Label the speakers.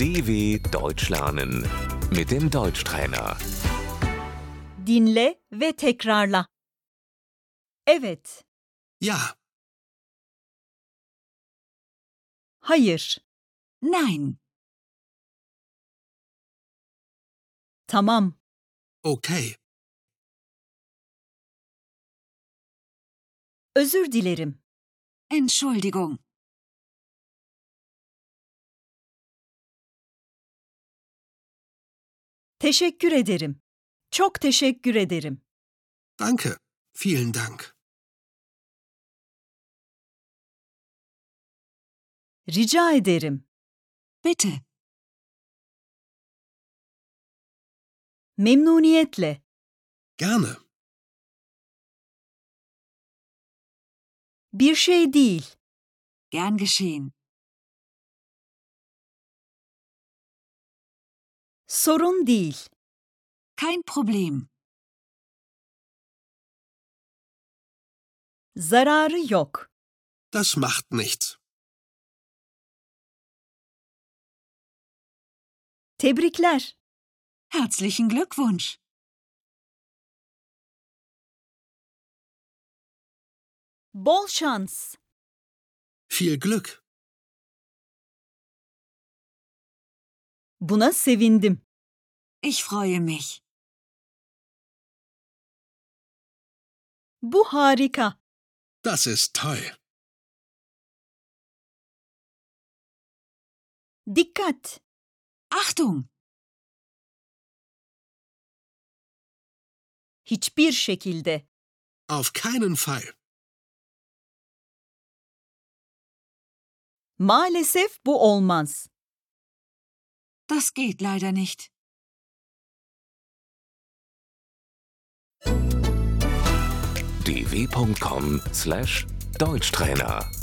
Speaker 1: DW Deutsch lernen mit dem Deutschtrainer.
Speaker 2: Dinle ve tekrarla. Evet,
Speaker 3: Ja,
Speaker 2: hayır,
Speaker 4: Nein,
Speaker 2: tamam,
Speaker 3: okay,
Speaker 2: özür dilerim,
Speaker 4: Entschuldigung,
Speaker 2: teşekkür ederim. Çok teşekkür ederim.
Speaker 3: danke, vielen Dank.
Speaker 2: Rica ederim.
Speaker 4: bitte,
Speaker 2: Memnuniyetle.
Speaker 3: Gerne,
Speaker 2: Bir şey değil.
Speaker 4: gern geschehen,
Speaker 2: Sorun değil.
Speaker 4: kein Problem,
Speaker 2: Zararı yok.
Speaker 3: das macht nichts.
Speaker 2: Tebrikler.
Speaker 4: herzlichen Glückwunsch.
Speaker 2: Bol şans.
Speaker 3: Viel Glück,
Speaker 2: Buna sevindim.
Speaker 4: Ich freue mich.
Speaker 2: Bu harika.
Speaker 3: das ist toll.
Speaker 2: Dikkat.
Speaker 4: Achtung,
Speaker 2: Hiçbir şekilde.
Speaker 3: Auf keinen Fall.
Speaker 2: Maalesef bu olmaz.
Speaker 4: das geht leider nicht.
Speaker 1: dw.com/deutschtrainer